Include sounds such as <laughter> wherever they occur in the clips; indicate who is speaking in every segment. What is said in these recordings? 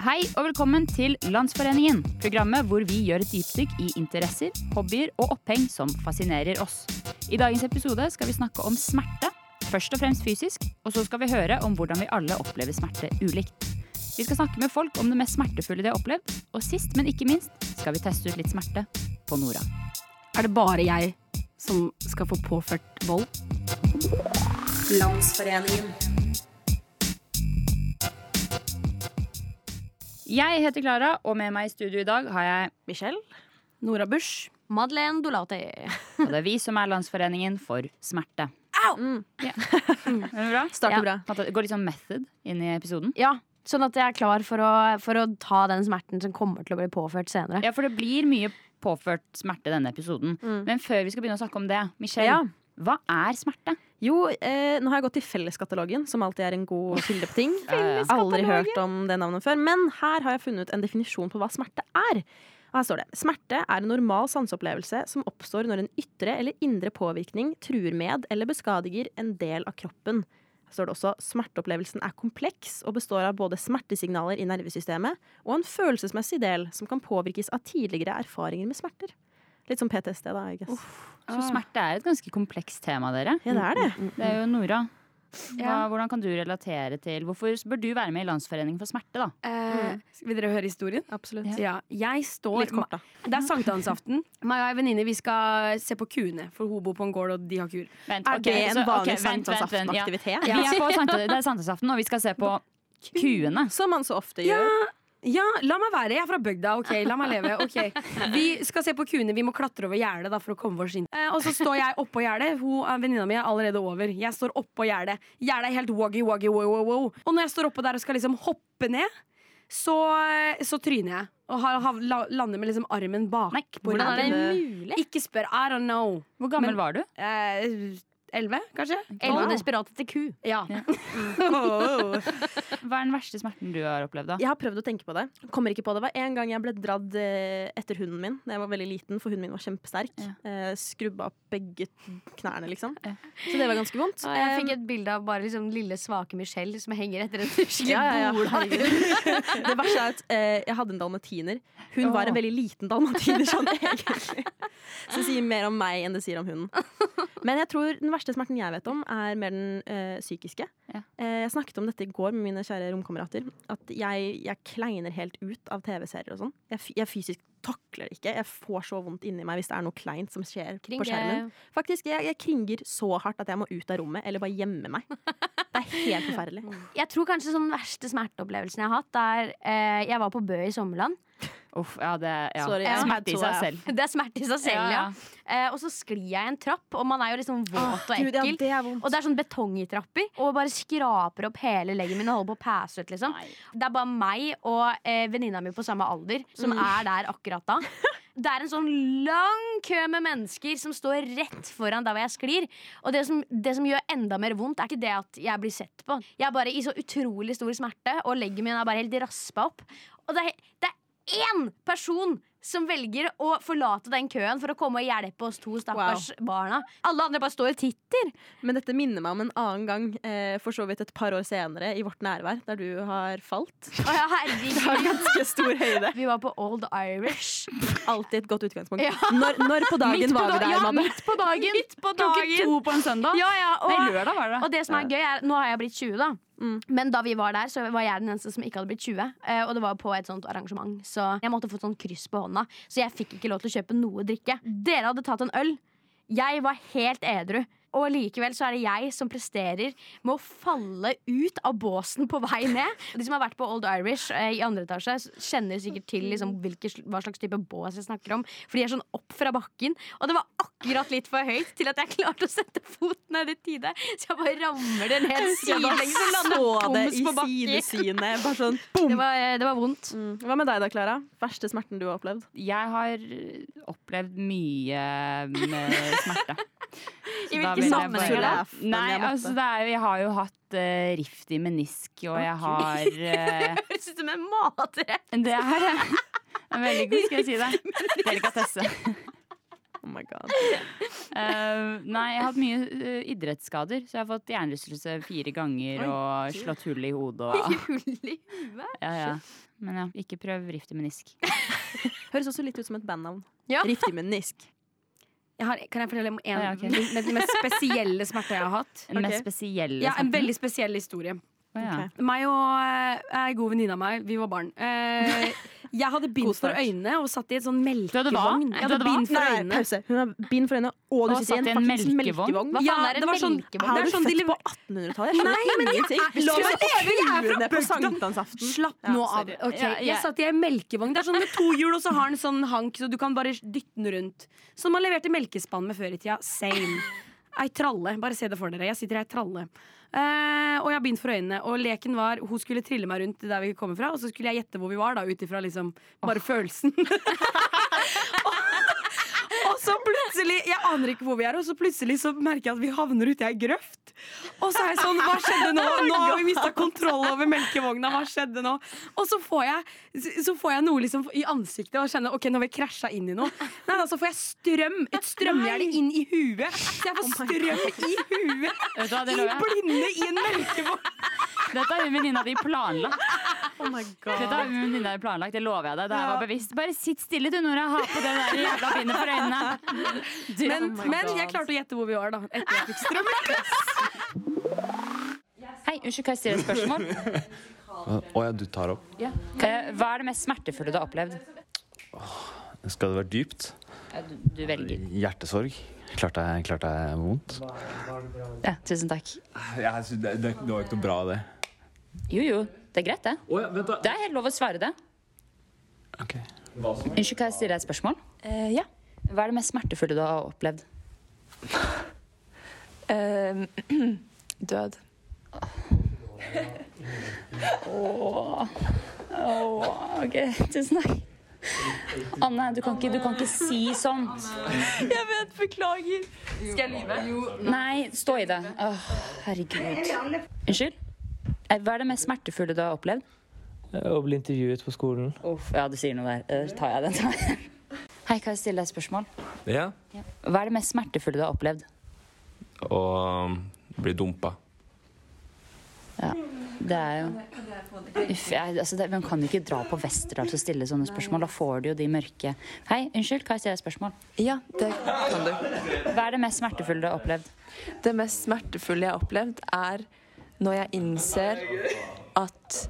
Speaker 1: Hei og velkommen til Landsforeningen, programmet hvor vi gjør et dypdykk i interesser, hobbyer og oppheng som fascinerer oss. I dagens episode skal vi snakke om smerte, først og fremst fysisk, og så skal vi høre om hvordan vi alle opplever smerte ulikt. Vi skal snakke med folk om det mest smertefulle de har opplevd, og sist, men ikke minst, skal vi teste ut litt smerte på Nora.
Speaker 2: Er det bare jeg som skal få påført vold?
Speaker 3: Landsforeningen.
Speaker 1: Jeg heter Klara, og med meg i studio i dag har jeg
Speaker 4: Michelle?
Speaker 2: Nora Bush.
Speaker 4: Madeleine Dolate.
Speaker 1: Og det er vi som er Landsforeningen for smerte.
Speaker 4: Mm.
Speaker 1: Er det bra?
Speaker 2: Starter
Speaker 4: Ja.
Speaker 2: bra.
Speaker 1: At Det går litt sånn method inn i episoden.
Speaker 4: Ja, sånn at jeg er klar for å, for å ta den smerten som kommer til å bli påført senere.
Speaker 1: Ja, for det blir mye påført smerte denne episoden.
Speaker 4: Mm.
Speaker 1: Men før vi skal begynne å snakke om det, Michelle,
Speaker 5: Ja.
Speaker 1: hva er smerte?
Speaker 5: Jo, eh, nå har jeg gått til Felleskatalogen, som alltid er en god kilde <laughs> på ting.
Speaker 1: Felleskatalogen?
Speaker 5: Aldri hørt om det navnet før, men her har jeg funnet en definisjon på hva smerte er. Og her står det smerte er en normal sanseopplevelse som oppstår når en ytre eller indre påvirkning truer med eller beskadiger en del av kroppen. Her står det også smerteopplevelsen er kompleks og består av både smertesignaler i nervesystemet og en følelsesmessig del som kan påvirkes av tidligere erfaringer med smerter. Litt som PTSD, da. I guess.
Speaker 1: Så smerte er et ganske komplekst tema, dere.
Speaker 5: Ja, det er det.
Speaker 1: Det er jo Nora. Hva, hvordan kan du relatere til Hvorfor bør du være med i Landsforeningen for smerte, da?
Speaker 4: Mm.
Speaker 2: Eh, vil dere høre historien?
Speaker 5: Absolutt.
Speaker 2: Ja. Jeg står
Speaker 5: Litt kort, da.
Speaker 2: Ma- Det er sankthansaften. Meg og ei venninne vi skal se på kuene, for hun bor på en gård, og de har kuer.
Speaker 1: Vent,
Speaker 5: Er
Speaker 1: ok,
Speaker 5: det en
Speaker 1: så- ok,
Speaker 5: vanlig
Speaker 1: vent, vent, vent, ja.
Speaker 5: sankthansaftenaktivitet?
Speaker 1: Vi er på sankta- det er sankthansaften, og vi skal se på kuene.
Speaker 5: Som man så ofte
Speaker 2: Ja,
Speaker 5: gjør.
Speaker 2: ja, la meg være. Jeg er fra bygda. ok, La meg leve. ok Vi skal se på kuene. Vi må klatre over gjerdet da, for å komme oss inn. Eh, og så står jeg oppå gjerdet. Hun, eh, Venninna mi er allerede over. Jeg står oppå gjerdet. Gjerdet er helt woggy, woggy, wow, wow, wow. Og når jeg står oppå der og skal liksom hoppe ned, så, så tryner jeg. Og har, har, la- lander med liksom armen
Speaker 1: Nei,
Speaker 2: bakpå.
Speaker 1: hvordan
Speaker 5: er det
Speaker 2: mulig? Ikke spør. I don't know.
Speaker 1: Hvor gammel
Speaker 2: Men-
Speaker 1: var du?
Speaker 2: Eh, Elleve, kanskje?
Speaker 4: Elleve desperate til ku.
Speaker 2: Ja.
Speaker 1: <laughs> Hva er den verste smerten du har opplevd, da?
Speaker 5: <laughs> Jeg har prøvd å tenke på det. Kommer ikke på det. Det var en gang jeg ble dradd eh, etter hunden min da jeg var veldig liten, for hunden min var kjempesterk. Eh, Skrubba opp begge knærne, liksom.
Speaker 1: Ja.
Speaker 5: Så det var ganske vondt.
Speaker 4: Jeg
Speaker 5: Eh,
Speaker 4: fikk et bilde av bare liksom lille, svake Michelle som henger etter <laughs> en skikkelig
Speaker 5: Ja, ja, ja.
Speaker 4: bola.
Speaker 5: det verste er at eh, jeg hadde en dalmatiner. Hun var en veldig liten dalmatiner, sånn egentlig. Så det sier mer om meg enn det sier om hunden. Men jeg tror den verste smerten jeg vet om, er mer den eh, psykiske.
Speaker 1: Ja.
Speaker 5: Eh, jeg snakket om dette i går med mine kjære romkamerater. At jeg, jeg kleiner helt ut av TV-serier og sånn. Jeg, f- jeg fysisk takler det ikke. Jeg får så vondt inni meg hvis det er noe kleint som skjer på skjermen. Faktisk, jeg, jeg kringer så hardt at jeg må ut av rommet eller bare gjemme meg. Det er helt forferdelig.
Speaker 4: Jeg tror kanskje sånn den verste smerteopplevelsen jeg har hatt, er eh, Jeg var på Bø i Sommerland.
Speaker 1: Uff, ja, det ja.
Speaker 5: Sorry, jeg
Speaker 1: Smerte i
Speaker 5: hadde så-
Speaker 1: seg selv.
Speaker 4: <laughs> Det er smerte i seg selv, ja.
Speaker 1: Ja,
Speaker 4: Eh, og så sklir jeg i en trapp, og man er jo liksom våt og
Speaker 5: Gud, ja,
Speaker 4: ekkel.
Speaker 5: det er vondt.
Speaker 4: Og det er sånn betongtrapper. Og bare skraper opp hele leggen min og holder på å passe ut. liksom
Speaker 1: Nei.
Speaker 4: Det er bare meg og eh, venninna mi på samme alder som er der akkurat da. Det er en sånn lang kø med mennesker som står rett foran der hvor jeg sklir. Og det som, det som gjør enda mer vondt, er ikke det at jeg blir sett på. Jeg er bare i så utrolig stor smerte, og leggen min er bare helt raspa opp. Og det er, det er én person som velger å forlate den køen for å komme og hjelpe oss to stakkars barna. Alle andre bare står og titter.
Speaker 5: Men dette minner meg om en annen gang, eh, for så vidt et par år senere, i vårt nærvær, der du har
Speaker 4: <laughs>
Speaker 5: falt.
Speaker 4: Å ja,
Speaker 5: Du <laughs> har
Speaker 4: herregud.
Speaker 5: ganske stor høyde.
Speaker 4: Vi var på Old Irish.
Speaker 5: Alltid et godt utgangspunkt.
Speaker 4: Ja.
Speaker 5: Når, når på dagen var vi
Speaker 4: da-
Speaker 5: der,
Speaker 4: ja,
Speaker 5: Madde?
Speaker 4: <laughs> midt på dagen.
Speaker 1: Klokken to på en søndag?
Speaker 4: Ja, ja,
Speaker 1: Nei,
Speaker 4: og,
Speaker 1: lørdag var det.
Speaker 4: og det som er gøy er, Nå har jeg blitt 20, da.
Speaker 5: Mm.
Speaker 4: Men da vi var der, så var jeg den eneste som ikke hadde blitt 20. eh, Og det var på et sånt arrangement Så jeg måtte få et sånt kryss på hånda. Så jeg fikk ikke lov til å kjøpe noe drikke. Dere hadde tatt en øl. Jeg var helt edru. Og likevel så er det jeg som presterer med å falle ut av båsen på vei ned. De som har vært på Old Irish eh, i andre etasje, s- kjenner sikkert til liksom, hvilke, sl- hva slags type bås jeg snakker om. For de er sånn opp fra bakken. Og det var akkurat litt for høyt til at jeg klarte å sette foten ned i tide. Så jeg bare rammer det
Speaker 1: <laughs>
Speaker 4: ned
Speaker 5: Jeg bare
Speaker 4: sidelengs og lander
Speaker 5: så det
Speaker 4: boms
Speaker 5: i
Speaker 4: på bakken.
Speaker 5: sidesynet. Bare sånn
Speaker 4: <laughs>
Speaker 5: boom!
Speaker 4: Det var, eh, det var vondt.
Speaker 5: Mm. Hva med deg da, Klara? Verste smerten du har opplevd?
Speaker 1: Jeg har eh, opplevd mye med <laughs> smerte. Så
Speaker 4: I
Speaker 1: da
Speaker 4: hvilke
Speaker 1: vil jeg
Speaker 4: sammenhenger
Speaker 1: bare-
Speaker 4: da?
Speaker 5: Laugh, men
Speaker 1: Nei,
Speaker 5: jeg måtte.
Speaker 1: altså det er jo Jeg har jo hatt eh, rift i menisk, og jeg har eh,
Speaker 4: Høres ut som en matrett.
Speaker 1: Det er eh, en veldig god, skal jeg si <laughs> det. Delikatesse.
Speaker 5: Oh my god.
Speaker 1: Eh, nei, jeg har hatt mye eh, idrettsskader, så jeg har fått <laughs> hjernerystelse fire ganger og slått hull i hodet og
Speaker 4: Hull i huet.
Speaker 1: ja, ja. Men ja, ikke prøv rift i menisk.
Speaker 5: Høres også litt ut som et bandnavn.
Speaker 4: Ja.
Speaker 5: Riktig menisk.
Speaker 2: Jeg har, kan jeg fortelle om en
Speaker 1: Ja, ja, ok.
Speaker 2: med den mest spesielle smerta jeg har hatt?
Speaker 1: <laughs> Den mest
Speaker 5: Ok.
Speaker 1: spesielle
Speaker 2: Ja, En
Speaker 1: smerten.
Speaker 2: veldig spesiell historie.
Speaker 1: Å, ja.
Speaker 5: Ok.
Speaker 2: Meg og eh, ei god venninne av meg, vi var barn. Eh, jeg hadde bind
Speaker 5: God
Speaker 2: for
Speaker 5: start.
Speaker 2: øynene og satt i et sånn
Speaker 1: Du hadde hva?
Speaker 2: melkevogn.
Speaker 1: Du
Speaker 2: Jeg hadde
Speaker 1: hadde hva?
Speaker 2: bind for
Speaker 5: Nei,
Speaker 2: øynene.
Speaker 5: pause. Hun har bind for øynene, og du
Speaker 1: Og
Speaker 5: sitter i
Speaker 1: satt
Speaker 5: en faktisk melkevogn.
Speaker 4: Hva
Speaker 2: Ja,
Speaker 4: faen er
Speaker 2: det
Speaker 4: en
Speaker 2: var sånn-
Speaker 4: melkevogn?
Speaker 2: det
Speaker 5: Her
Speaker 2: er
Speaker 5: er du
Speaker 2: sånn de
Speaker 5: født
Speaker 2: lever-
Speaker 5: på 1800-tallet. Jeg skjønner ingenting. Vi
Speaker 2: la meg
Speaker 5: skulle
Speaker 2: leve, jeg er fra
Speaker 5: kulene på
Speaker 2: Bøgda.
Speaker 5: sankthansaften.
Speaker 2: Slapp
Speaker 5: Ja,
Speaker 2: nå av.
Speaker 5: sorry.
Speaker 2: Ok,
Speaker 1: Ja, jeg-
Speaker 2: Jeg satt i ei melkevogn. Det er sånn med to hjul, og så har den sånn hank, så du kan bare dytte den rundt. Som man leverte melkespann med før i tida. Same. Ei tralle. Bare se det for dere. Jeg sitter i ei tralle. Eh, og jeg har bind for øynene. Og leken var hun skulle trille meg rundt der vi kommer fra, og så skulle jeg gjette hvor vi var, da, ut ifra liksom bare følelsen. <laughs> Og så plutselig, Jeg aner ikke hvor vi er, og så plutselig så merker jeg at vi havner uti ei grøft. Og så er jeg sånn, hva skjedde nå? Nå har vi mista kontroll over melkevogna. hva skjedde nå? Og så får jeg, så får jeg noe liksom i ansiktet og kjenner ok, nå har vi krasja inn i noe. Nei, da, så får jeg strøm, et strømgjerde inn i huet. Så jeg får strøm i huet!
Speaker 1: Vet du hva, det
Speaker 2: I
Speaker 1: lover jeg.
Speaker 2: blinde i en <laughs> melkevogn.
Speaker 1: Dette har hun venninna di planlagt.
Speaker 5: Oh my
Speaker 1: Dette har hun venninna di planlagt, det lover jeg deg. Det her var bevisst. Bare sitt stille du, Nora. Ha på det der jævla bindet for øynene. Du,
Speaker 2: Men,
Speaker 1: oh my
Speaker 2: men
Speaker 1: God.
Speaker 2: jeg klarte å gjette hvor vi var, da. Etter jeg fikk strøm.
Speaker 1: Hei, unnskyld, kan jeg stille et <laughs> spørsmål?
Speaker 3: Å ja, du tar opp.
Speaker 1: Eh, Hva er det mest smertefulle du har opplevd?
Speaker 3: Skal det være dypt?
Speaker 1: Ja, Du, du velger.
Speaker 3: Hjertesorg. Klart det klart det er vondt.
Speaker 1: Ja, tusen takk.
Speaker 3: det, var ikke noe bra, det.
Speaker 1: Jo, jo. Det er greit, det. Det er helt lov å svare det. Unnskyld, kan jeg stille deg et spørsmål?
Speaker 6: Eh, ja.
Speaker 1: Hva er det mest smertefulle du har opplevd?
Speaker 6: Eh, <clears throat> død.
Speaker 1: Ok, tusen takk. Anne, du kan ikke, du kan ikke si sånt.
Speaker 6: Jeg vet, beklager. Skal jeg lyve?
Speaker 1: Nei, stå i det. Åh, herregud. Unnskyld? Eh, Hva er det mest smertefulle du har opplevd?
Speaker 7: eh, Å bli intervjuet på skolen.
Speaker 1: Uff, ja, du sier noe der. Eh, tar jeg den. Tar jeg den. Hei, kan jeg stille deg et spørsmål?
Speaker 8: Ja,
Speaker 1: Hva er det mest smertefulle du har opplevd?
Speaker 8: og um, bli dumpa.
Speaker 1: Det er jo Uff, jeg, altså det, Man kan jo ikke dra på Westerdals og altså stille sånne spørsmål. Da får du jo de mørke Hei, unnskyld, kan jeg stille deg et spørsmål?
Speaker 6: Ja, det kan du.
Speaker 1: Hva er det mest smertefulle du har opplevd?
Speaker 6: Det mest smertefulle jeg har opplevd, er når jeg innser at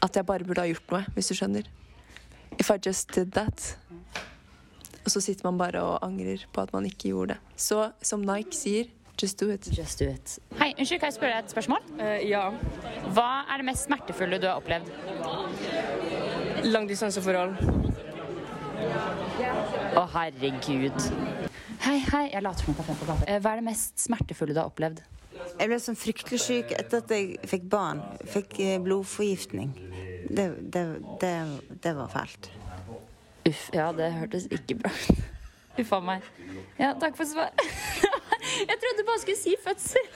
Speaker 6: at jeg bare burde ha gjort noe, hvis du skjønner. If I just did that. Og så sitter man bare og angrer på at man ikke gjorde det. Så som Nike sier, just do it.
Speaker 1: Just do it. Hei, unnskyld, kan jeg spørre deg et spørsmål?
Speaker 2: Eh,
Speaker 9: Ja.
Speaker 1: Hva er det mest smertefulle du har opplevd?
Speaker 9: Langdistanseforhold.
Speaker 1: Å, herregud. Hei, hei. Jeg later som jeg tar frem på kaffe. Eh, Hva er det mest smertefulle du har opplevd?
Speaker 10: Jeg ble sånn fryktelig syk etter at jeg fikk barn. Fikk eh, blodforgiftning. Det, det, det, det var fælt.
Speaker 1: Uff, ja, det hørtes ikke bra ut. <laughs> Uff a meg. Ja, takk for svar. <laughs> Jeg trodde bare skulle si fødsel.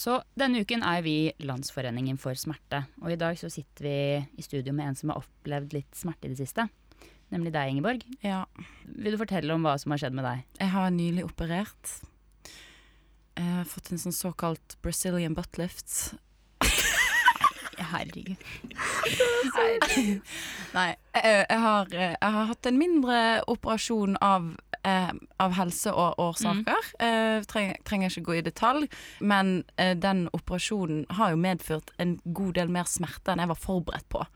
Speaker 1: Så denne uken er vi Landsforeningen for smerte. Og i dag så sitter vi i studio med en som har opplevd litt smerte i det siste. Nemlig deg, Ingeborg.
Speaker 11: Ja,
Speaker 1: Vil du fortelle om hva som har skjedd med deg?
Speaker 11: jeg har nylig operert. Jeg har fått en sånn såkalt Brazilian butt lift. <laughs> Herregud. Herregud. <laughs> Nei, jeg, jeg, har, jeg har hatt en mindre operasjon av, eh, av helse og årsaker. Eh, treng, trenger ikke gå i detalj, men eh, den operasjonen har jo medført en god del mer smerte enn jeg var forberedt på.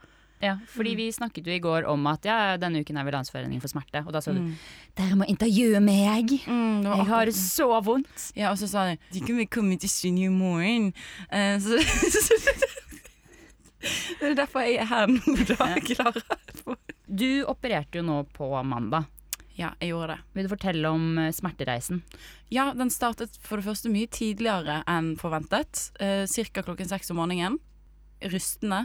Speaker 1: Ja,
Speaker 11: mm.
Speaker 1: fordi vi snakket jo i går om at ja, denne uken er vi Landsforeningen for smerte. Og da sa du dere må intervjue meg!
Speaker 11: Mm, det var
Speaker 1: Jeg har
Speaker 11: Mm. akkurat-
Speaker 1: det så vondt!
Speaker 11: Ja, og så sa han De kan vel komme til studio i morgen Eh, så, <laughs> Det er derfor jeg er her nå da, Klara
Speaker 1: Du opererte jo nå på mandag.
Speaker 11: Ja, jeg gjorde det
Speaker 1: Vil du fortelle om eh, smertereisen?
Speaker 11: Ja, den startet for det første mye tidligere enn forventet eh, Cirka klokken seks om morgenen Rystende,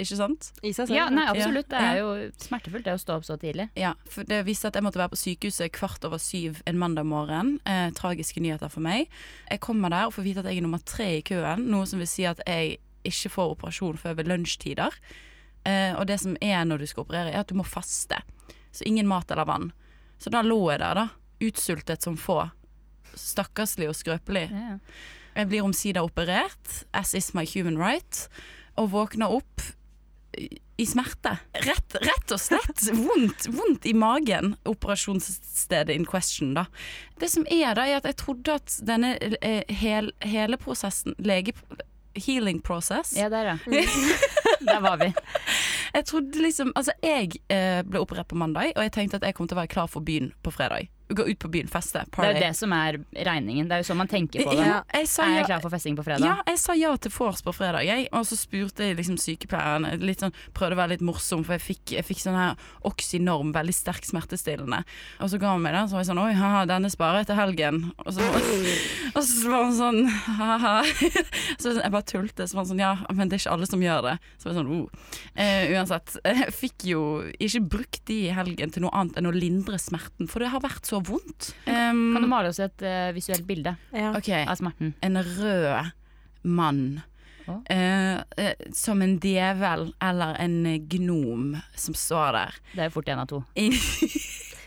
Speaker 11: ikke sant?
Speaker 5: I seg selv.
Speaker 1: Ja, nei, absolutt. Det er
Speaker 11: Ja.
Speaker 1: jo smertefullt det å stå opp så tidlig.
Speaker 11: Ja, for det viste at jeg måtte være på sykehuset kvart over syv en mandag morgen. Eh, tragiske nyheter for meg. Jeg kommer der og får vite at jeg er nummer tre i køen, noe som vil si at jeg ikke får operasjon før ved lunsjtider. Eh, og det som er når du skal operere, er at du må faste. Så ingen mat eller vann. Så da lå jeg der, da. Utsultet som få. Stakkarslig og skrøpelig.
Speaker 1: Ja, ja.
Speaker 11: Jeg blir omsider operert, as is my human right. og våkna opp i i smerte. Rett, rett
Speaker 1: <laughs>
Speaker 11: og slett vondt, vondt i magen. Operasjonsstedet in question, da. Det som er, da, er at jeg trodde at denne eh, hel, hele prosessen lege, Healing process
Speaker 1: Ja, der, ja. <laughs> Der var vi.
Speaker 11: jeg trodde liksom Altså, jeg eh, ble operert på mandag, og jeg tenkte at jeg kom til å være klar for byen på fredag. Gå ut på byen, feste,
Speaker 1: Det er
Speaker 11: party.
Speaker 1: jo det som er regningen. Det er jo sånn man tenker på det.
Speaker 11: Ja, jeg sa
Speaker 1: Er jeg
Speaker 11: ja-
Speaker 1: klar for festing på fredag?
Speaker 11: Ja, jeg sa ja til vors på fredag, jeg. Og så spurte jeg liksom sykepleieren. Litt sånn, prøvde å være litt morsom, for jeg fikk, jeg fikk sånn her oxynorm, veldig sterk smertestillende. Og så ga hun meg den, så var jeg sånn Oi, haha, denne sparer jeg til helgen. Og så, <laughs> og så var hun sånn ha-ha. <laughs> Så jeg bare tulte. Så var hun sånn Ja, men det er ikke alle som gjør det. Så var jeg sånn oh. eh, Uansett. <laughs> Jeg fikk jo ikke brukt de i helgen til noe annet enn å lindre smerten, for det har vært så vondt. Um,
Speaker 1: Kan du male oss et eh, visuelt bilde
Speaker 5: Ja.
Speaker 11: ok,
Speaker 1: av smerten?
Speaker 11: en rød mann.
Speaker 1: Å.
Speaker 11: Eh, eh, som en djevel eller en eh, gnom som står der.
Speaker 1: Det er jo fort én av to. <laughs>
Speaker 11: Inn,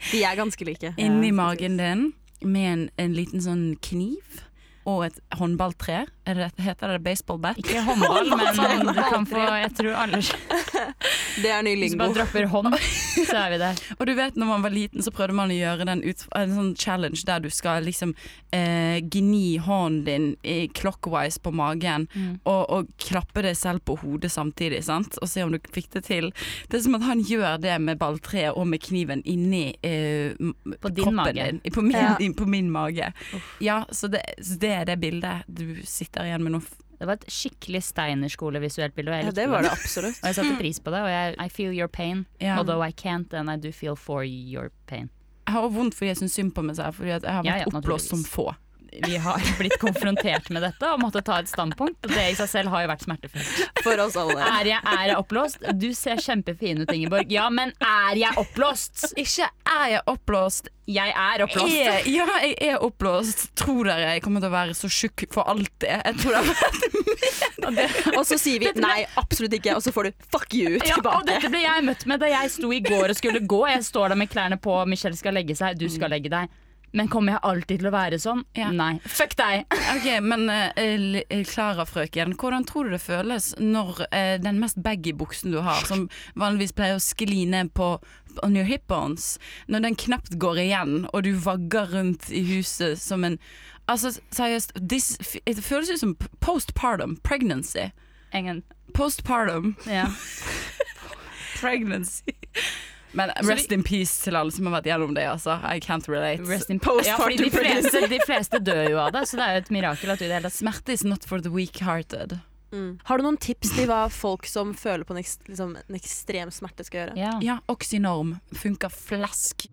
Speaker 5: De er ganske like.
Speaker 11: inni magen din med en, en liten sånn kniv og et håndballtre. Er det, heter det baseball bat?
Speaker 1: Ikke
Speaker 11: <laughs>
Speaker 1: håndball, men du kan få Jeg tror alle Hvis
Speaker 5: Det er ny
Speaker 1: du bare dropper hånd, så er vi der.
Speaker 11: Og du vet, når man var liten, så prøvde man å gjøre den ut, en sånn challenge der du skal liksom eh, gni hånden din i clockwise på magen
Speaker 1: Mm.
Speaker 11: og, og klappe deg selv på hodet samtidig, sant? Og se om du fikk det til. Det er som at han gjør det med balltreet og med kniven inni eh, m-
Speaker 1: På din
Speaker 11: kroppen
Speaker 1: mage.
Speaker 11: Din, på, min,
Speaker 5: Ja.
Speaker 11: din, <laughs> på min mage. Ja, så det, så det er det bildet. Du sitter igjen med noe f-
Speaker 1: Det var et skikkelig Steinerskole-visuelt bilde, og jeg
Speaker 5: Ja,
Speaker 1: likte
Speaker 5: det var det absolutt.
Speaker 1: Og jeg satte pris på det. Og jeg I feel your pain,
Speaker 11: Ja.
Speaker 1: although I can't, and I do feel for your pain.
Speaker 11: Jeg har vondt fordi jeg syns synd på meg selv, fordi at jeg har
Speaker 1: Ja,
Speaker 11: vært
Speaker 1: ja,
Speaker 11: oppblåst som
Speaker 1: naturligvis.
Speaker 11: få.
Speaker 1: Vi har <laughs> blitt konfrontert med dette og måtte ta et standpunkt. og Det i seg selv har jo vært smertefullt.
Speaker 5: For oss alle.
Speaker 1: Er jeg, er jeg oppblåst? Du ser kjempefin ut, Ingeborg. Ja, men er jeg oppblåst?
Speaker 11: Ikke er jeg oppblåst,
Speaker 1: Jeg er oppblåst.
Speaker 11: Jeg, ja, jeg er oppblåst. Tror dere jeg kommer til å være så tjukk for alltid? Jeg tror det har vært <laughs>
Speaker 5: Og så sier vi nei, absolutt ikke, og så får du fuck you
Speaker 1: Ja, og
Speaker 5: tilbake.
Speaker 1: dette ble jeg møtt med da jeg sto i går og skulle gå. Jeg står der med klærne på, Michelle skal legge seg, du
Speaker 5: Mm.
Speaker 1: skal legge deg. Men kommer jeg alltid til å være sånn?
Speaker 11: Ja.
Speaker 1: Nei. Fuck deg!
Speaker 11: Ok, Men eh, Klara-frøken, hvordan tror du det føles når eh, den mest baggy buksen du har, som vanligvis pleier å skli ned på on your hip bones, når den knapt går igjen, og du vagger rundt i huset som en Altså, seriøst, this, det føles ut som postpartum pregnancy.
Speaker 1: En gang.
Speaker 11: Postpartum
Speaker 1: Ja.
Speaker 11: pregnancy. Men
Speaker 1: vi-
Speaker 11: rest in peace til alle som har vært gjennom det, altså. I can't relate.
Speaker 1: Rest in
Speaker 5: Postpartum
Speaker 1: ja, fordi de fleste, de fleste dør jo av det, så det er jo et mirakel at du i det hele tatt
Speaker 11: Smerte is not for the weak-hearted.
Speaker 5: Har du noen tips til hva folk som føler på en, ekst, liksom, en ekstrem smerte, skal gjøre?
Speaker 1: ja.
Speaker 11: Ja, oxynorm funker flask.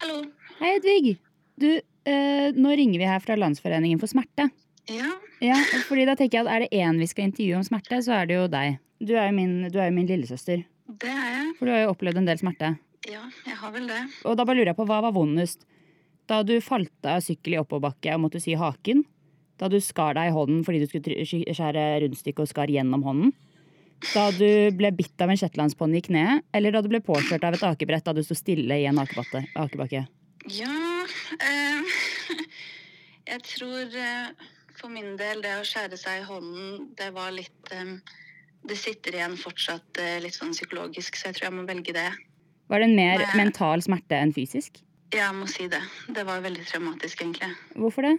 Speaker 1: Hei, Hedvig. Du, eh, nå ringer vi her fra Landsforeningen for smerte. Ja. fordi da tenker jeg at Er det én vi skal intervjue om smerte, så er det jo deg. Du er jo min, du er jo min lillesøster.
Speaker 6: Det er jeg.
Speaker 1: For du har jo opplevd en del smerte.
Speaker 6: Ja, jeg har vel det.
Speaker 1: Og da bare lurer jeg på, hva var vondest? Da du falt av sykkel i oppoverbakke og måtte sy haken? Da du skar deg i hånden fordi du skulle try- sky- skjære rundstykket og skar gjennom hånden? Da du ble bitt av en shetlandsponni i kneet? Eller da du ble påkjørt av et akebrett da du sto stille i en akebatte- akebakke?
Speaker 6: Ja eh, <laughs> Jeg tror eh, for min del det å skjære seg i hånden, det var litt eh, Det sitter igjen fortsatt eh, litt sånn psykologisk, så jeg tror jeg må velge det.
Speaker 1: Var det en mer
Speaker 6: Nei.
Speaker 1: mental smerte enn fysisk?
Speaker 6: Jeg må si det. Det var veldig traumatisk, egentlig.
Speaker 1: Hvorfor det?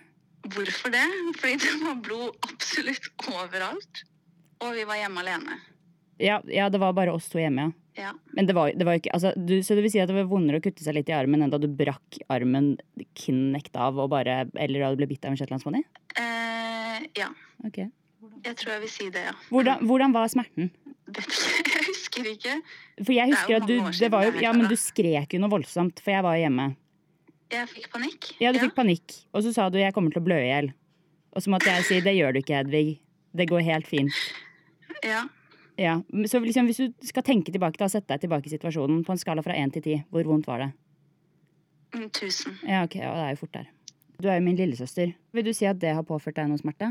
Speaker 6: Hvorfor det? Fordi det var blod absolutt overalt. Og vi var hjemme alene.
Speaker 1: Ja, ja det var bare oss to hjemme, ja.
Speaker 6: Ja.
Speaker 1: Men det var, det var jo ikke, altså, du, så det vil si at det var vondere å kutte seg litt i armen enn da du brakk armen knekt av og bare, eller da du ble bitt av en shetlandsponni?
Speaker 6: Eh, ja.
Speaker 1: Ok.
Speaker 6: Jeg tror jeg vil si det, ja.
Speaker 1: Hvordan, hvordan var smerten?
Speaker 6: Vet ikke. <laughs> Jeg husker ikke.
Speaker 1: For jeg
Speaker 6: Det er
Speaker 1: husker
Speaker 6: jo
Speaker 1: at du,
Speaker 6: mange år
Speaker 1: det
Speaker 6: siden
Speaker 1: var jo,
Speaker 6: det her,
Speaker 1: ja, men
Speaker 6: da.
Speaker 1: du skrek jo noe voldsomt, for jeg var jo hjemme.
Speaker 6: Jeg fikk panikk.
Speaker 1: Ja, du fikk panikk, og så sa du 'jeg kommer til å blø i hjel'. Og så måtte jeg si 'det gjør du ikke, Hedvig'. Det går helt fint.
Speaker 6: Ja.
Speaker 1: Ja. men Så liksom, hvis du skal tenke tilbake, da sette deg tilbake i situasjonen på en skala fra én til ti, hvor vondt var det?
Speaker 6: Mm, Tusen.
Speaker 1: Ja, ok, ja, det er jo fort der. Du er jo min lillesøster. Vil du si at det har påført deg noe smerte?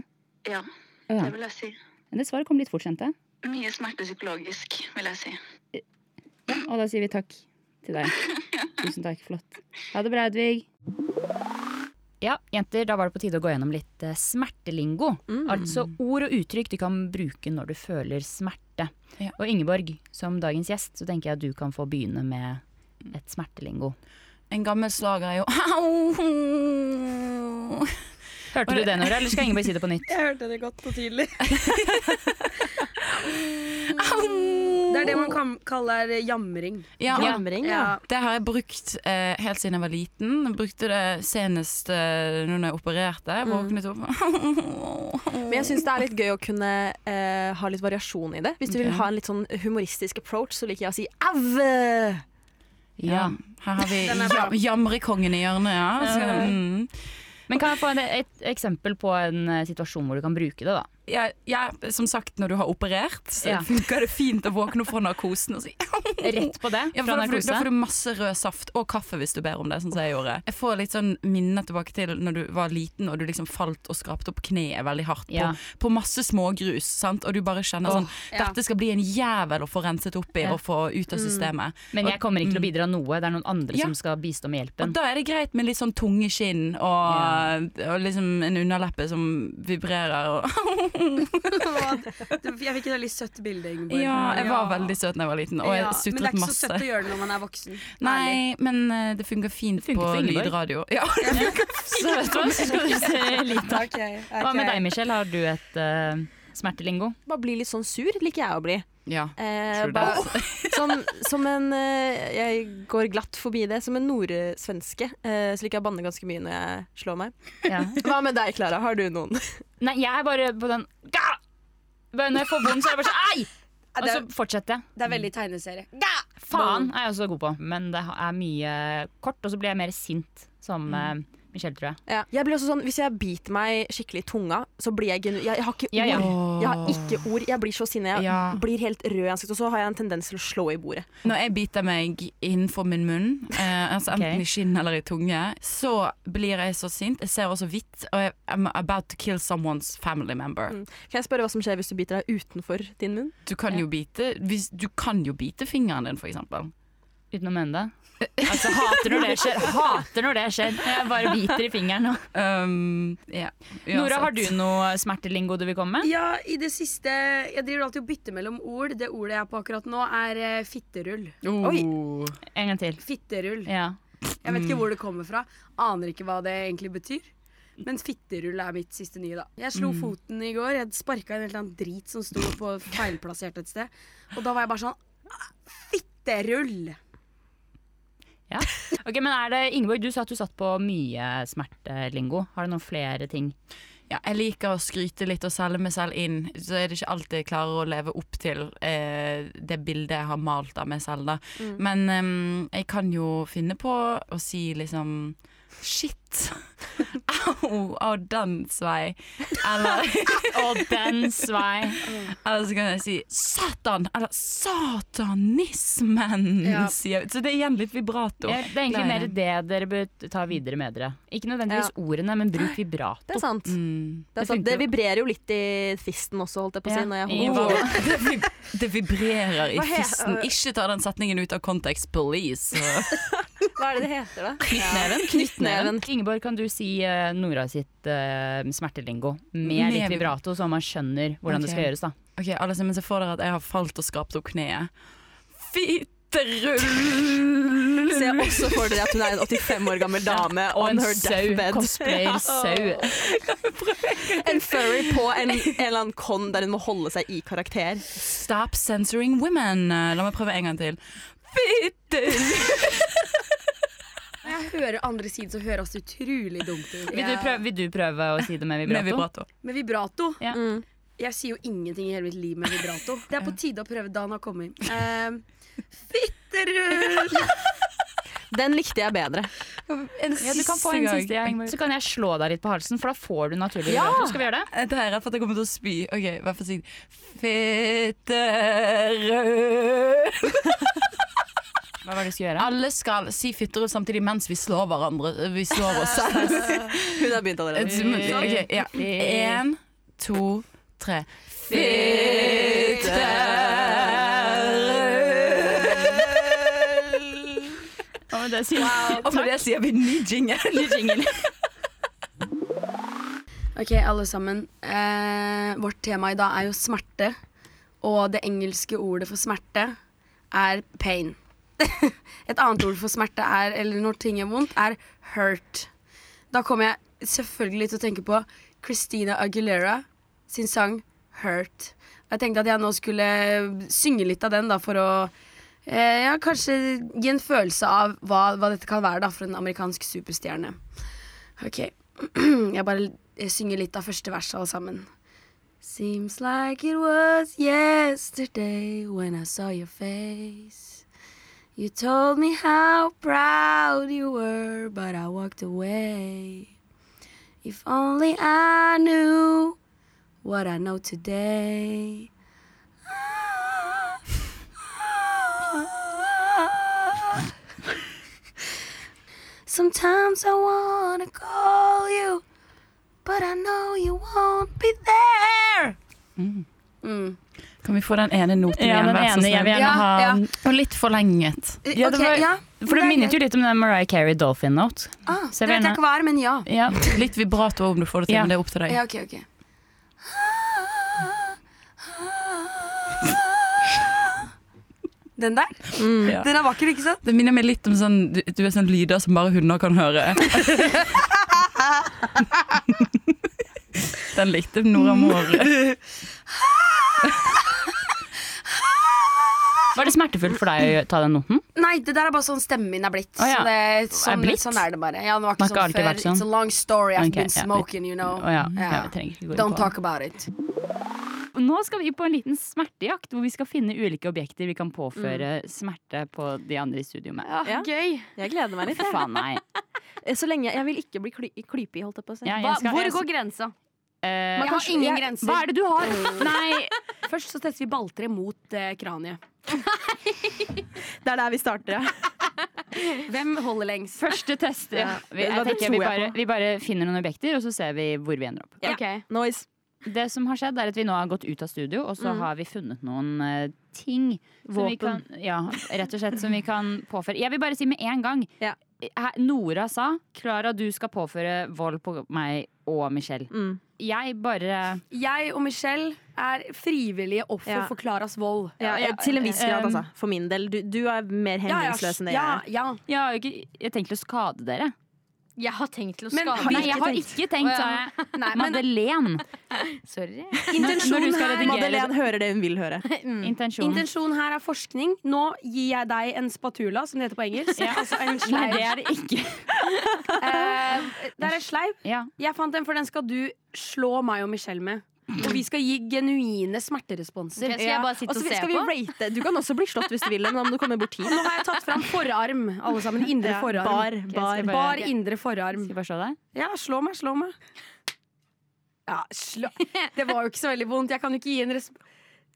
Speaker 6: Ja,
Speaker 1: Å ja.
Speaker 6: det vil jeg si.
Speaker 1: Men det svaret kom litt fort, kjente jeg.
Speaker 6: Mye smerte psykologisk, vil jeg si.
Speaker 1: Og da sier vi takk til deg. Tusen takk. Flott. Ha det bra, Hedvig. Ja, jenter, da var det på tide å gå gjennom litt eh, smertelingo. Altså ord og uttrykk du kan bruke når du føler smerte.
Speaker 11: Ja.
Speaker 1: Og Ingeborg, som dagens gjest, så tenker jeg at du kan få begynne med et smertelingo.
Speaker 11: En gammel slager er jo Au!
Speaker 1: Hørte du det, Nora, eller skal Ingeborg si det på nytt?
Speaker 5: Jeg hørte det godt og tydelig.
Speaker 2: Det er det man kan, kaller jamring.
Speaker 11: Ja,
Speaker 5: Jamring, ja.
Speaker 2: Ja. <laughs>
Speaker 11: Det har jeg brukt eh, helt siden jeg var liten. Jeg brukte det senest eh, nå når jeg opererte. Jeg våknet opp
Speaker 5: Men jeg syns det er litt gøy å kunne eh, ha litt variasjon i det. Hvis du vil
Speaker 11: Ja.
Speaker 5: ha en litt sånn humoristisk approach, så liker jeg å si au!
Speaker 11: <laughs> ja. Her har vi jam jamrekongen i hjørnet, ja. Så, mm.
Speaker 1: Men kan jeg få en, et eksempel på en eh, situasjon hvor du kan bruke det, da?
Speaker 11: ja, ja, som sagt, når du har operert, så
Speaker 1: Ja.
Speaker 11: funker det fint å våkne opp fra narkosen og si
Speaker 1: Rett på det? fra
Speaker 11: Ja, for da, får du, da
Speaker 1: narkose?
Speaker 11: får du masse rød saft og kaffe hvis du ber om det, sånn som jeg gjorde. Jeg får litt sånn minner tilbake til når du var liten og du liksom falt og skrapte opp kneet veldig hardt
Speaker 1: Ja.
Speaker 11: på, på masse smågrus, sant? og du bare kjenner sånn
Speaker 2: ja.
Speaker 11: Dette skal bli en jævel å få renset opp i
Speaker 1: Ja.
Speaker 11: og få ut av systemet.
Speaker 1: Men jeg kommer ikke til å bidra noe. Det er noen andre
Speaker 11: Ja.
Speaker 1: som skal bistå med
Speaker 11: Og
Speaker 1: hjelpen.
Speaker 11: da er det greit med litt sånn tunge skinn og, og liksom en underleppe som vibrerer og
Speaker 2: Du, jeg fikk et veldig søtt bilde, Ingeborg.
Speaker 11: Ja, jeg var veldig søt da jeg var liten, og
Speaker 2: Ja,
Speaker 11: jeg
Speaker 2: Men det er
Speaker 11: sutret
Speaker 2: ikke så
Speaker 11: masse.
Speaker 2: søtt å gjøre det når man er voksen. Ærlig.
Speaker 11: Nei, men eh, det funker fint
Speaker 1: Det funker
Speaker 11: på
Speaker 1: for Ingeborg.
Speaker 11: lydradio. <laughs> Ja.
Speaker 1: Så vet du hva, så skal du se litt av.
Speaker 2: Ok,
Speaker 1: Hva
Speaker 2: ok.
Speaker 1: med deg, Michelle? Har du et eh, smertelingo?
Speaker 5: Bare bli litt sånn sur, liker jeg å bli.
Speaker 11: ja.
Speaker 5: Eh,
Speaker 11: True
Speaker 5: bare, <laughs> som, som en eh, Jeg går glatt forbi det. Som en nordsvenske eh, så liker jeg å banne ganske mye når jeg slår meg.
Speaker 1: Ja.
Speaker 5: Hva med deg, Klara? Har du noen?
Speaker 1: <laughs> Nei, jeg er bare på den Ga! Bare Når jeg får vondt, så er jeg bare sånn <laughs> Ei!
Speaker 2: Ja,
Speaker 1: Og
Speaker 2: det,
Speaker 1: så
Speaker 2: er,
Speaker 11: Altså,
Speaker 1: fortsetter jeg.
Speaker 2: det er veldig tegneserie.
Speaker 1: Faen er jeg også god på. Men det er mye kort, og så blir jeg mer sint, som eh, Michelle, tror jeg.
Speaker 5: Jeg blir også sånn, Hvis jeg biter meg skikkelig i tunga, så blir jeg genu... Jeg, jeg har ikke ord.
Speaker 1: Ja, ja.
Speaker 5: Jeg har ikke ord. Jeg blir så sinna. Jeg
Speaker 11: Ja.
Speaker 5: blir helt rød i ansiktet, og så har jeg en tendens til å slå i bordet.
Speaker 11: Når jeg biter meg innenfor min munn, eh, altså
Speaker 1: Ok.
Speaker 11: enten i skinn eller i tunge, så blir jeg så sint. Jeg ser også hvitt, og jeg I'm about to kill someone's family
Speaker 1: Mm.
Speaker 11: member.
Speaker 5: Kan jeg spørre hva som skjer hvis du biter deg utenfor din munn?
Speaker 11: Du kan jo bite, hvis, du kan jo bite fingeren din, for eksempel.
Speaker 1: Uten å mene det. <laughs> Altså, hater når det skjer. Hater når det skjer. Jeg bare biter i fingeren. nå.
Speaker 11: Um, ja,
Speaker 1: Nora,
Speaker 11: uansett.
Speaker 1: har du noe smertelingo du vil komme med?
Speaker 2: Ja, i det siste Jeg driver alltid og bytter mellom ord. Det ordet jeg er på akkurat nå, er eh, fitterull.
Speaker 11: Oh.
Speaker 1: En gang til.
Speaker 2: Fitterull.
Speaker 1: Ja.
Speaker 2: Jeg vet ikke hvor det kommer fra. Aner ikke hva det egentlig betyr. Men fitterull er mitt siste nye, da. Jeg slo foten i går. Jeg sparka en eller annen drit som sto på feilplassert et sted. Og da var jeg bare sånn «Ah, Fitterull!
Speaker 1: Ja. Ok, men er det, Ingeborg, du sa at du satt på mye smertelingo. Har du noen flere ting?
Speaker 11: Ja, jeg liker å skryte litt og selge meg selv inn. Så er det ikke alltid jeg klarer å leve opp til eh, det bildet jeg har malt av meg selv. Da. Men em, jeg kan jo finne på å si liksom Shit! <laughs> Au! Au, dens vei. Eller, <laughs>
Speaker 1: Og den svei.
Speaker 11: eller så kan jeg si Satan! Eller satanismen!
Speaker 2: Ja.
Speaker 11: Sier jeg. Så det er igjen litt vibrato.
Speaker 1: Ja, Det er egentlig mer det dere bør ta videre med dere. Ikke nødvendigvis ordene, men bruk vibrato.
Speaker 5: Det er sånn sant. Det,
Speaker 11: Mm.
Speaker 5: er sant.
Speaker 1: funker
Speaker 5: det
Speaker 1: jo.
Speaker 5: vibrerer jo litt i fisten også, holdt jeg på å si.
Speaker 1: Ja,
Speaker 5: Når jeg
Speaker 1: i
Speaker 5: holder på.
Speaker 1: hva-
Speaker 11: Det, vib det vibrerer i
Speaker 5: Hva he-
Speaker 11: fisten. Ikke ta den setningen ut av kontekst, please.
Speaker 5: Hva er det det heter, da?
Speaker 1: Knyttneven.
Speaker 5: Knyttneven.
Speaker 1: Ingeborg, kan du si eh, Nora sitt eh, smertelingo med litt
Speaker 11: Med-
Speaker 1: vibrato, så man skjønner hvordan det
Speaker 11: Ok.
Speaker 1: skal gjøres? da
Speaker 11: Ok, alle sammen ser for dere at jeg har falt og skrapt opp kneet. Fitterull!
Speaker 5: Se også for dere at hun er en 85 år gammel dame
Speaker 1: Og
Speaker 5: on
Speaker 1: en
Speaker 5: her
Speaker 1: sau.
Speaker 5: deathbed.
Speaker 1: Cosplayer sau.
Speaker 5: En furry på en, en eller annen con der hun må holde seg i karakter.
Speaker 11: Stop censoring women! La meg prøve en gang til. Fitterull!
Speaker 2: Når jeg hører andre siden, så høres det utrolig dumt ut.
Speaker 1: Vil du, prøve, vil du prøve å si det med
Speaker 11: Med
Speaker 1: vibrato?
Speaker 11: vibrato.
Speaker 2: Med vibrato.
Speaker 1: Ja.
Speaker 2: Jeg sier jo ingenting i hele mitt liv med vibrato. Det er på tide å prøve. Dan har kommet. Um, Fitterull!
Speaker 5: Den likte jeg bedre.
Speaker 11: En
Speaker 1: Ja, du kan få en siste gang. Så kan jeg slå deg litt på halsen, for da får du naturlig vibrato. Skal vi gjøre det?
Speaker 11: Det her er rett for at jeg kommer til å spy. Ok, Vær forsiktig. Fitterull!
Speaker 1: Hva var det du skulle gjøre?
Speaker 11: Alle skal si fitterull samtidig mens vi slår hverandre. Vi slår oss selv.
Speaker 5: <laughs> Hun har begynt allerede.
Speaker 11: Ok, ja. En, to, tre. Fitterull!
Speaker 1: Hva var det jeg sier?
Speaker 11: Og med det sier vi ny jingle.
Speaker 1: Ny jingle.
Speaker 9: Ok, alle sammen. Eh, vårt tema i dag er jo smerte. Og det engelske ordet for smerte er pain. <laughs> Et annet ord for smerte er, eller når ting er vondt, er hurt. Da kommer jeg selvfølgelig til å tenke på Christina Aguilera sin sang Hurt. Jeg tenkte at jeg nå skulle synge litt av den da, for å eh, ja, kanskje gi en følelse av hva, hva dette kan være da, for en amerikansk superstjerne. Ok, <clears throat> jeg bare eh, synger litt av første vers alle sammen. Seems like it was yesterday when I saw your face. You told me how proud you were, but I walked away. If only I knew what I know today. <laughs> Sometimes I wanna call you, but I know you won't be there. Mm.
Speaker 11: <laughs> Kan vi få den ene noten
Speaker 9: Ja,
Speaker 11: igjen?
Speaker 9: den
Speaker 11: vær så
Speaker 9: ene,
Speaker 11: snill?
Speaker 9: jeg vil gjerne Ja, ha- ja.
Speaker 11: Og litt forlenget.
Speaker 9: Eh,
Speaker 1: Ja, det
Speaker 9: ok,
Speaker 1: var,
Speaker 9: ja.
Speaker 1: For det
Speaker 9: Det er
Speaker 1: minnet jo
Speaker 9: greit.
Speaker 1: litt om den Mariah Carey Dolphin Note.
Speaker 9: Ah,
Speaker 1: Så
Speaker 9: det vet
Speaker 1: jeg vil
Speaker 9: jeg
Speaker 1: gjerne-
Speaker 9: ikke hva er, men ja.
Speaker 1: Ja.
Speaker 11: Litt vibrato om du får det til,
Speaker 1: Ja.
Speaker 11: men det er opp til deg.
Speaker 9: Ja, ok,
Speaker 2: <laughs>
Speaker 9: ok. Den der?
Speaker 11: Ja.
Speaker 9: Den er vakker, ikke sant?
Speaker 11: Det minner meg litt om sånn Du, du er sånn lyder som bare hunder kan høre. Den likte Nora Moore.
Speaker 1: Var det smertefullt for deg å ta den noten?
Speaker 9: Nei, det der er bare sånn stemmen min er blitt.
Speaker 1: Å, ja.
Speaker 9: så det, sånn,
Speaker 1: Er blitt?
Speaker 9: sånn er det bare. Ja, det var ikke
Speaker 1: Man har
Speaker 9: sånn
Speaker 1: ikke
Speaker 9: før.
Speaker 1: alltid vært sånn.
Speaker 9: It's a long story. I've
Speaker 1: Ok,
Speaker 9: been
Speaker 1: ja.
Speaker 9: smoking, you know.
Speaker 1: Å, ja.
Speaker 9: Ja.
Speaker 1: Ja, vi trenger ikke gå inn
Speaker 9: Don't
Speaker 1: på det.
Speaker 9: talk about it.
Speaker 1: Nå skal vi på en liten smertejakt, hvor vi skal finne ulike objekter vi kan påføre smerte på de andre i studio med.
Speaker 5: Ja.
Speaker 4: Gøy.
Speaker 5: Jeg gleder meg litt. jeg.
Speaker 1: Faen, nei.
Speaker 5: Så lenge Jeg vil ikke bli kly klypig, holdt jeg på å si.
Speaker 1: Ja, jeg
Speaker 5: Hva-
Speaker 1: skal-
Speaker 5: hvor
Speaker 1: jeg-
Speaker 5: går
Speaker 4: grensa?
Speaker 1: Eh,
Speaker 5: Man kan-
Speaker 9: har ingen
Speaker 5: jeg-
Speaker 9: grenser.
Speaker 1: Hva er det du har? Nei.
Speaker 2: Først så tester vi balltre mot eh, kraniet.
Speaker 5: Det er der vi starter, ja.
Speaker 2: Hvem holder lengst?
Speaker 1: Første test. Ja. Vi,
Speaker 5: Ja,
Speaker 1: jeg
Speaker 5: det
Speaker 1: tenker
Speaker 5: tror
Speaker 1: vi
Speaker 5: jeg
Speaker 1: bare,
Speaker 5: på.
Speaker 1: vi bare finner noen objekter, og så ser vi hvor vi ender opp.
Speaker 4: Ok.
Speaker 5: Noise.
Speaker 1: Det som har skjedd, er at vi nå har gått ut av studio, og så
Speaker 5: Mm.
Speaker 1: har vi funnet noen eh, ting. Som vi
Speaker 5: Våpen.
Speaker 1: kan, ja, rett og slett som vi
Speaker 2: <laughs>
Speaker 1: kan påføre. Jeg vil bare si med en gang
Speaker 5: Ja.
Speaker 1: her- Nora sa Klara, du skal påføre vold på meg og Michelle.
Speaker 5: Mm.
Speaker 1: Jeg bare
Speaker 2: Jeg og Michelle er frivillige offer
Speaker 5: Ja.
Speaker 2: for Claras vold.
Speaker 5: Ja,
Speaker 1: ja,
Speaker 5: til en viss grad,
Speaker 1: eh,
Speaker 5: altså. For min del. Du, du er mer hemningsløs enn det
Speaker 2: ja,
Speaker 5: jeg er.
Speaker 2: ja.
Speaker 1: Jeg har jo ikke jeg tenkt til å skade dere.
Speaker 4: Jeg har tenkt til å
Speaker 2: Men
Speaker 4: skade
Speaker 2: har-
Speaker 1: Nei,
Speaker 4: <laughs> deg.
Speaker 1: jeg har ikke tenkt, sa jeg.
Speaker 2: Nei, men <laughs>
Speaker 1: Madeleine.
Speaker 4: Sorry.
Speaker 1: Når du
Speaker 2: intensjonen
Speaker 1: skal
Speaker 2: her,
Speaker 1: redigere-
Speaker 5: Madeleine hører det hun vil høre.
Speaker 1: Intensjon.
Speaker 2: intensjonen her er forskning. Nå gir jeg deg en spatula, som det heter på engelsk.
Speaker 1: Ja.
Speaker 2: <laughs> Altså en
Speaker 1: Nei,
Speaker 2: sleiv.
Speaker 1: det er det
Speaker 2: <laughs>
Speaker 1: ikke.
Speaker 2: Eh, det er en sleiv.
Speaker 1: Ja.
Speaker 2: Jeg fant den, for den skal du slå meg og Michelle med. Og vi skal gi genuine smerteresponser.
Speaker 4: Ok, skal jeg bare sitte
Speaker 5: så
Speaker 4: og se
Speaker 5: skal vi
Speaker 4: på?
Speaker 5: rate. Du kan også bli slått hvis du vil, men om du kommer bort hit
Speaker 2: <laughs> Nå har jeg tatt fram forarm, alle sammen. Indre
Speaker 5: Ja,
Speaker 2: forarm.
Speaker 5: Bar,
Speaker 1: skal
Speaker 5: bar.
Speaker 1: bare-
Speaker 2: Bar indre forarm.
Speaker 1: Skal vi bare se deg?
Speaker 2: Ja, slå meg, slå meg. Ja, <laughs> slå Det var jo ikke så veldig vondt. Jeg kan jo ikke gi en resp...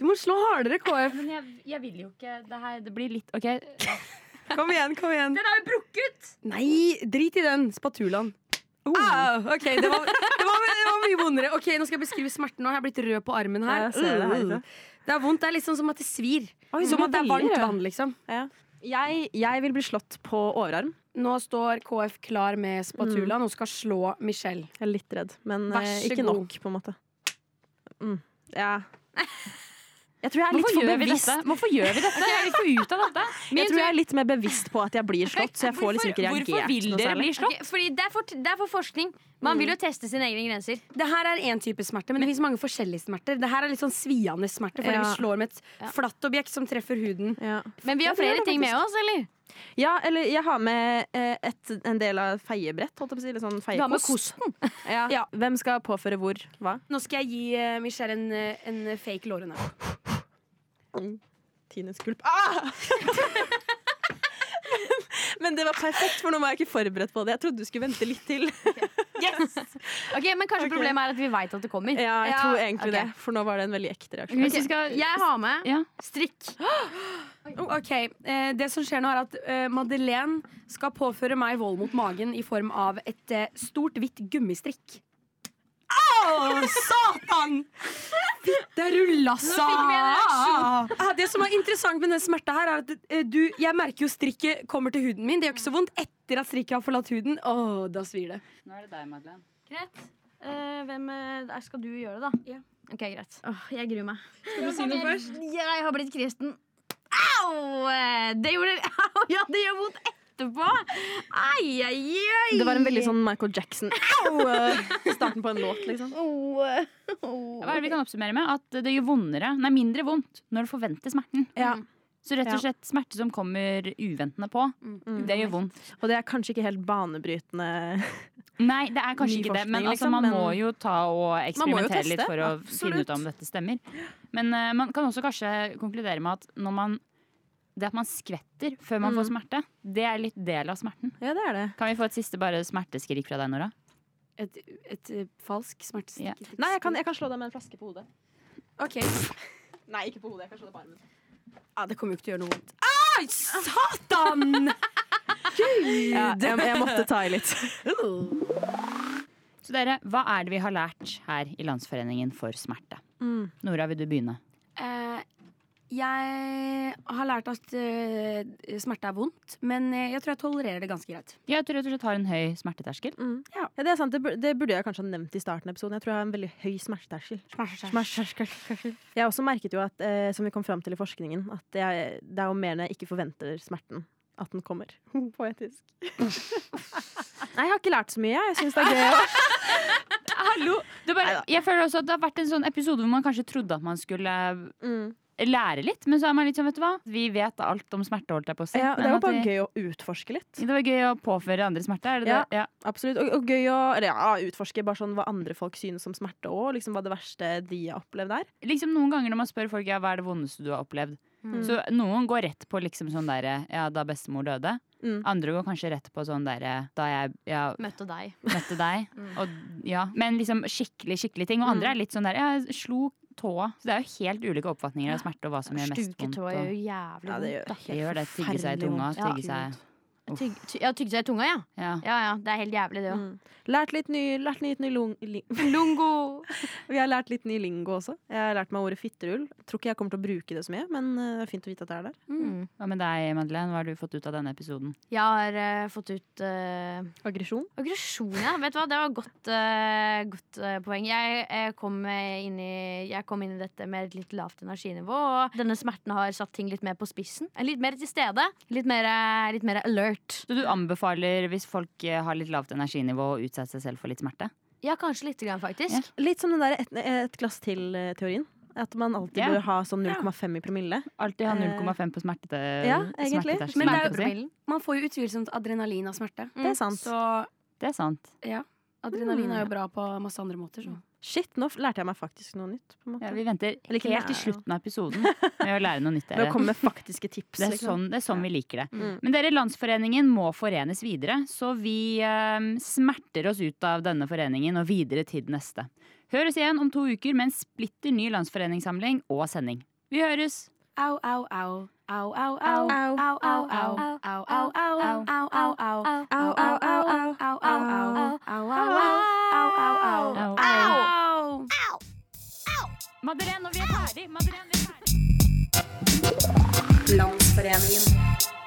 Speaker 2: Du må slå hardere, KF.
Speaker 1: Men jeg, vil jo ikke det her Det blir litt OK.
Speaker 5: Kom igjen, kom igjen.
Speaker 2: Nei, drit i den spatulaen.
Speaker 5: Oh.
Speaker 2: Au, ok, det var, det, var, det var mye vondere. Ok, Nå skal jeg beskrive smerten. Nå har jeg blitt rød på armen her.
Speaker 5: Ja, jeg ser det herfra.
Speaker 2: Uh, det er vondt. Det er liksom som at det svir.
Speaker 5: Oi,
Speaker 2: som
Speaker 5: du
Speaker 2: at det
Speaker 5: velger,
Speaker 2: er varmt
Speaker 5: ja.
Speaker 2: vann, liksom.
Speaker 5: Jeg, jeg vil bli slått på overarm.
Speaker 2: Nå står KF klar med
Speaker 5: Mm.
Speaker 2: spatulaen og skal slå Michelle.
Speaker 5: Jeg er litt redd, men
Speaker 2: Vær
Speaker 5: eh,
Speaker 2: så
Speaker 5: ikke
Speaker 2: god.
Speaker 5: nok, på en måte. Mm. Ja. <laughs> Jeg tror jeg er litt
Speaker 1: Hvorfor
Speaker 5: for
Speaker 1: gjør vi
Speaker 5: bevisst.
Speaker 1: dette? Hvorfor gjør vi dette? Jeg vil få ut av <laughs> dette.
Speaker 5: Jeg tror jeg er litt mer bevisst på at jeg <laughs> blir slått, så jeg får liksom ikke reagert
Speaker 1: Hvorfor vil
Speaker 5: noe
Speaker 1: dere
Speaker 5: særlig.
Speaker 1: bli slått?
Speaker 4: Ok, fordi det er, for, det er for forskning. Man vil jo teste sine egne grenser.
Speaker 2: Det her er én type smerte, men det fins mange forskjellige smerter. Det her er litt sånn sviende smerte,
Speaker 5: Ja.
Speaker 2: fordi vi slår med et flatt objekt som treffer huden.
Speaker 5: Ja.
Speaker 4: Men vi har
Speaker 5: Jeg tror
Speaker 4: flere
Speaker 5: det
Speaker 4: ting med oss, eller?
Speaker 5: ja, eller jeg har med eh, et, en del av feiebrett, holdt jeg på å si. Eller sånn
Speaker 2: har med
Speaker 5: feiekost. Ja.
Speaker 2: Ja.
Speaker 5: Hvem skal påføre hvor hva?
Speaker 2: Nå skal jeg gi eh, Michelle en, eh, en fake lårene.
Speaker 5: Tines gulp. Ah! <laughs> Men det var perfekt, for nå var jeg ikke forberedt på det. Jeg trodde du skulle vente litt til.
Speaker 4: <laughs> Ok, Men kanskje problemet er at vi veit at det kommer.
Speaker 5: Ja, jeg
Speaker 4: Ja,
Speaker 5: tror egentlig
Speaker 4: ok.
Speaker 5: det, for nå var det en veldig ekte reaksjon.
Speaker 1: Hvis vi skal
Speaker 4: Jeg har med
Speaker 1: ja.
Speaker 4: strikk.
Speaker 2: Ok, eh, Det som skjer nå, er at eh, Madeleine skal påføre meg vold mot magen i form av et eh, stort, hvitt gummistrikk. Au! Satan! Fitte rullassa! Ah, det som er interessant med den smerta her, er at eh, du Jeg merker jo strikket kommer til huden min. Det gjør ikke så vondt etter at strikket har forlatt huden. Åh, da svir det.
Speaker 1: Nå er det deg, Madeleine.
Speaker 4: Greit. Eh, hvem eh, der skal du gjøre det, da? Ok, greit. Åh, jeg gruer meg.
Speaker 12: Skal du si noe først?
Speaker 4: Jeg har blitt kristen. Au! Eh, Det gjorde <laughs> Au, ja, det gjør vondt etterpå! Ai, ai, ai!
Speaker 5: Det var en veldig sånn Michael Jackson Au! eh, Starten på en låt, liksom.
Speaker 1: Hva er det vi kan oppsummere med? At det gjør vondere, nei, mindre vondt når du forventer smerten. Så rett og slett smerte som kommer uventende på, det gjør vondt.
Speaker 5: Og det er kanskje ikke helt banebrytende
Speaker 1: Nei, det er kanskje ikke det, men altså, man må jo ta og eksperimentere litt for å finne ut om
Speaker 5: det.
Speaker 1: dette stemmer. Men eh, man kan også kanskje konkludere med at når man det at man skvetter før man får smerte, det er litt del av smerten.
Speaker 5: Ja, det er det.
Speaker 1: Kan vi få et siste bare smerteskrik fra deg, Nora?
Speaker 2: Et, et eh, falsk smertestikk.
Speaker 1: Ja.
Speaker 5: Nei, jeg kan, jeg kan slå deg med en flaske på hodet.
Speaker 2: Ok.
Speaker 5: Nei, ikke på hodet. Jeg kan slå deg på armen.
Speaker 2: Ja, det kommer jo ikke til å gjøre noe vondt. Ai, satan! Gud!
Speaker 5: Ja, jeg, jeg måtte ta <laughs> i litt.
Speaker 1: Så dere, hva er det vi har lært her i Landsforeningen for smerte? Nora, vil du begynne?
Speaker 2: Eh, jeg har lært at eh, smerte er vondt, men eh, jeg tror jeg tolererer det ganske greit.
Speaker 1: Jeg tror rett og slett har en høy smerteterskel.
Speaker 5: Ja. det er sant. Det, bur- det burde jeg kanskje ha nevnt i starten av episoden. Jeg tror jeg har en veldig høy smerteterskel. Smerteterskel. Jeg har også merket jo at, eh, som vi kom fram til i forskningen, at jeg, det er jo mer når jeg ikke forventer smerten. At den kommer. <laughs> Poetisk. Nei, jeg har ikke lært så mye. Jeg syns det er gøy. <laughs> å-
Speaker 1: <laughs> Hallo! Det er bare, jeg føler også at det har vært en sånn episode hvor man kanskje trodde at man skulle
Speaker 5: Mm.
Speaker 1: eh, lære litt, men så er man litt sånn, vet du hva? Vi vet alt om smerte, holdt jeg på å si.
Speaker 5: Ja, det
Speaker 1: men
Speaker 5: er jo
Speaker 1: at
Speaker 5: bare
Speaker 1: vi-
Speaker 5: gøy å utforske litt.
Speaker 1: Det var gøy å påføre andre smerte, er det
Speaker 5: Ja,
Speaker 1: det? Ja.
Speaker 5: absolutt. Og, og gøy å eller, ja, utforske bare sånn hva andre folk synes om smerte òg. Liksom, hva det verste de har opplevd er.
Speaker 1: Liksom Noen ganger når man spør folk ja, hva er det vondeste du har opplevd,
Speaker 5: Mm.
Speaker 1: så noen går rett på liksom sånn derre ja, da bestemor døde.
Speaker 5: Mm.
Speaker 1: Andre går kanskje rett på sånn derre da jeg ja,
Speaker 4: Møtte deg.
Speaker 1: møtte deg.
Speaker 4: Mm.
Speaker 1: Og, ja. Men liksom skikkelig, skikkelig ting. Og andre er litt sånn der jeg slo tåa. Så det er jo helt ulike oppfatninger av smerte og hva som gjør mest vondt.
Speaker 4: Stuketå gjør jo
Speaker 1: Og,
Speaker 4: jævlig
Speaker 5: Ja,
Speaker 4: vondt.
Speaker 5: det gjør
Speaker 4: da. Mm.
Speaker 1: det gjør det. Tygge seg i
Speaker 5: Forferdelig
Speaker 1: tunga.
Speaker 5: vondt.
Speaker 1: Tygge
Speaker 5: Ja.
Speaker 1: seg
Speaker 4: Tygg, ty, ja, tygde seg i tunga, ja.
Speaker 1: Ja.
Speaker 4: ja. ja, Det er helt jævlig, det òg.
Speaker 5: Mm. Lært litt ny, lært litt ny lung, li, <laughs>
Speaker 4: Mm. Lungo!
Speaker 5: Vi har lært litt ny lingo også. Jeg har lært meg ordet fitterull. Tror ikke jeg kommer til å bruke det så mye, men eh, det er fint å vite at det er der.
Speaker 4: Mm.
Speaker 1: Hva med deg, Madeleine? Hva har du fått ut av denne episoden?
Speaker 4: Jeg har eh, fått ut eh,
Speaker 5: Aggresjon.
Speaker 4: Aggresjon, ja. Vet du hva, det var godt, eh, godt eh, poeng. Jeg, eh, kom eh, inn i, jeg kom inn i dette med et litt lavt energinivå, og denne smerten har satt ting litt mer på spissen. Eh, Litt mer til stede. Litt mer, eh, litt mer alert.
Speaker 1: Så du anbefaler, hvis folk eh, har litt lavt energinivå, å utsette seg selv for litt smerte?
Speaker 4: Ja, kanskje lite grann, faktisk.
Speaker 5: Litt som den der et, et glass til-teorien. At man alltid
Speaker 1: Ja.
Speaker 5: bør ha sånn 0,5 i promille.
Speaker 1: Alltid ha
Speaker 5: Eh,
Speaker 1: 0,5 på smerte,
Speaker 5: ja, egentlig.
Speaker 1: smerteterskelen,
Speaker 2: Men det
Speaker 1: holdt
Speaker 2: er,
Speaker 1: jeg på å si.
Speaker 2: jo- man får jo utvilsomt adrenalin av smerte.
Speaker 5: Det er sant.
Speaker 2: Så
Speaker 1: Det er sant.
Speaker 2: ja, adrenalin er jo bra på masse andre måter. Så.
Speaker 5: Shit, nå f- lærte jeg meg faktisk noe nytt. På en måte.
Speaker 1: Ja, vi venter
Speaker 5: Eller ikke
Speaker 1: helt til
Speaker 5: lære.
Speaker 1: slutten av episoden med å lære noe nytt.
Speaker 5: Med å
Speaker 1: Dere.
Speaker 5: komme med faktiske tips.
Speaker 1: Det er
Speaker 5: liksom.
Speaker 1: sånn, det er sånn vi liker det.
Speaker 5: Mm.
Speaker 1: Men dere, Landsforeningen må forenes videre, så vi eh, smerter oss ut av denne foreningen og videre til den neste. Høres igjen om to uker med en splitter ny landsforeningssamling og sending. Vi høres!
Speaker 2: Au, au, au. Au, au,
Speaker 5: sånn-
Speaker 2: au. Au, au, au. Au, au, au. Au, au, au. Au, au, au. Au, au, au. Au, au, au. Au, au, au. Au!
Speaker 1: Madeleine, når vi er ferdig! Madeleine, vi er ferdig!
Speaker 12: Landsforeningen.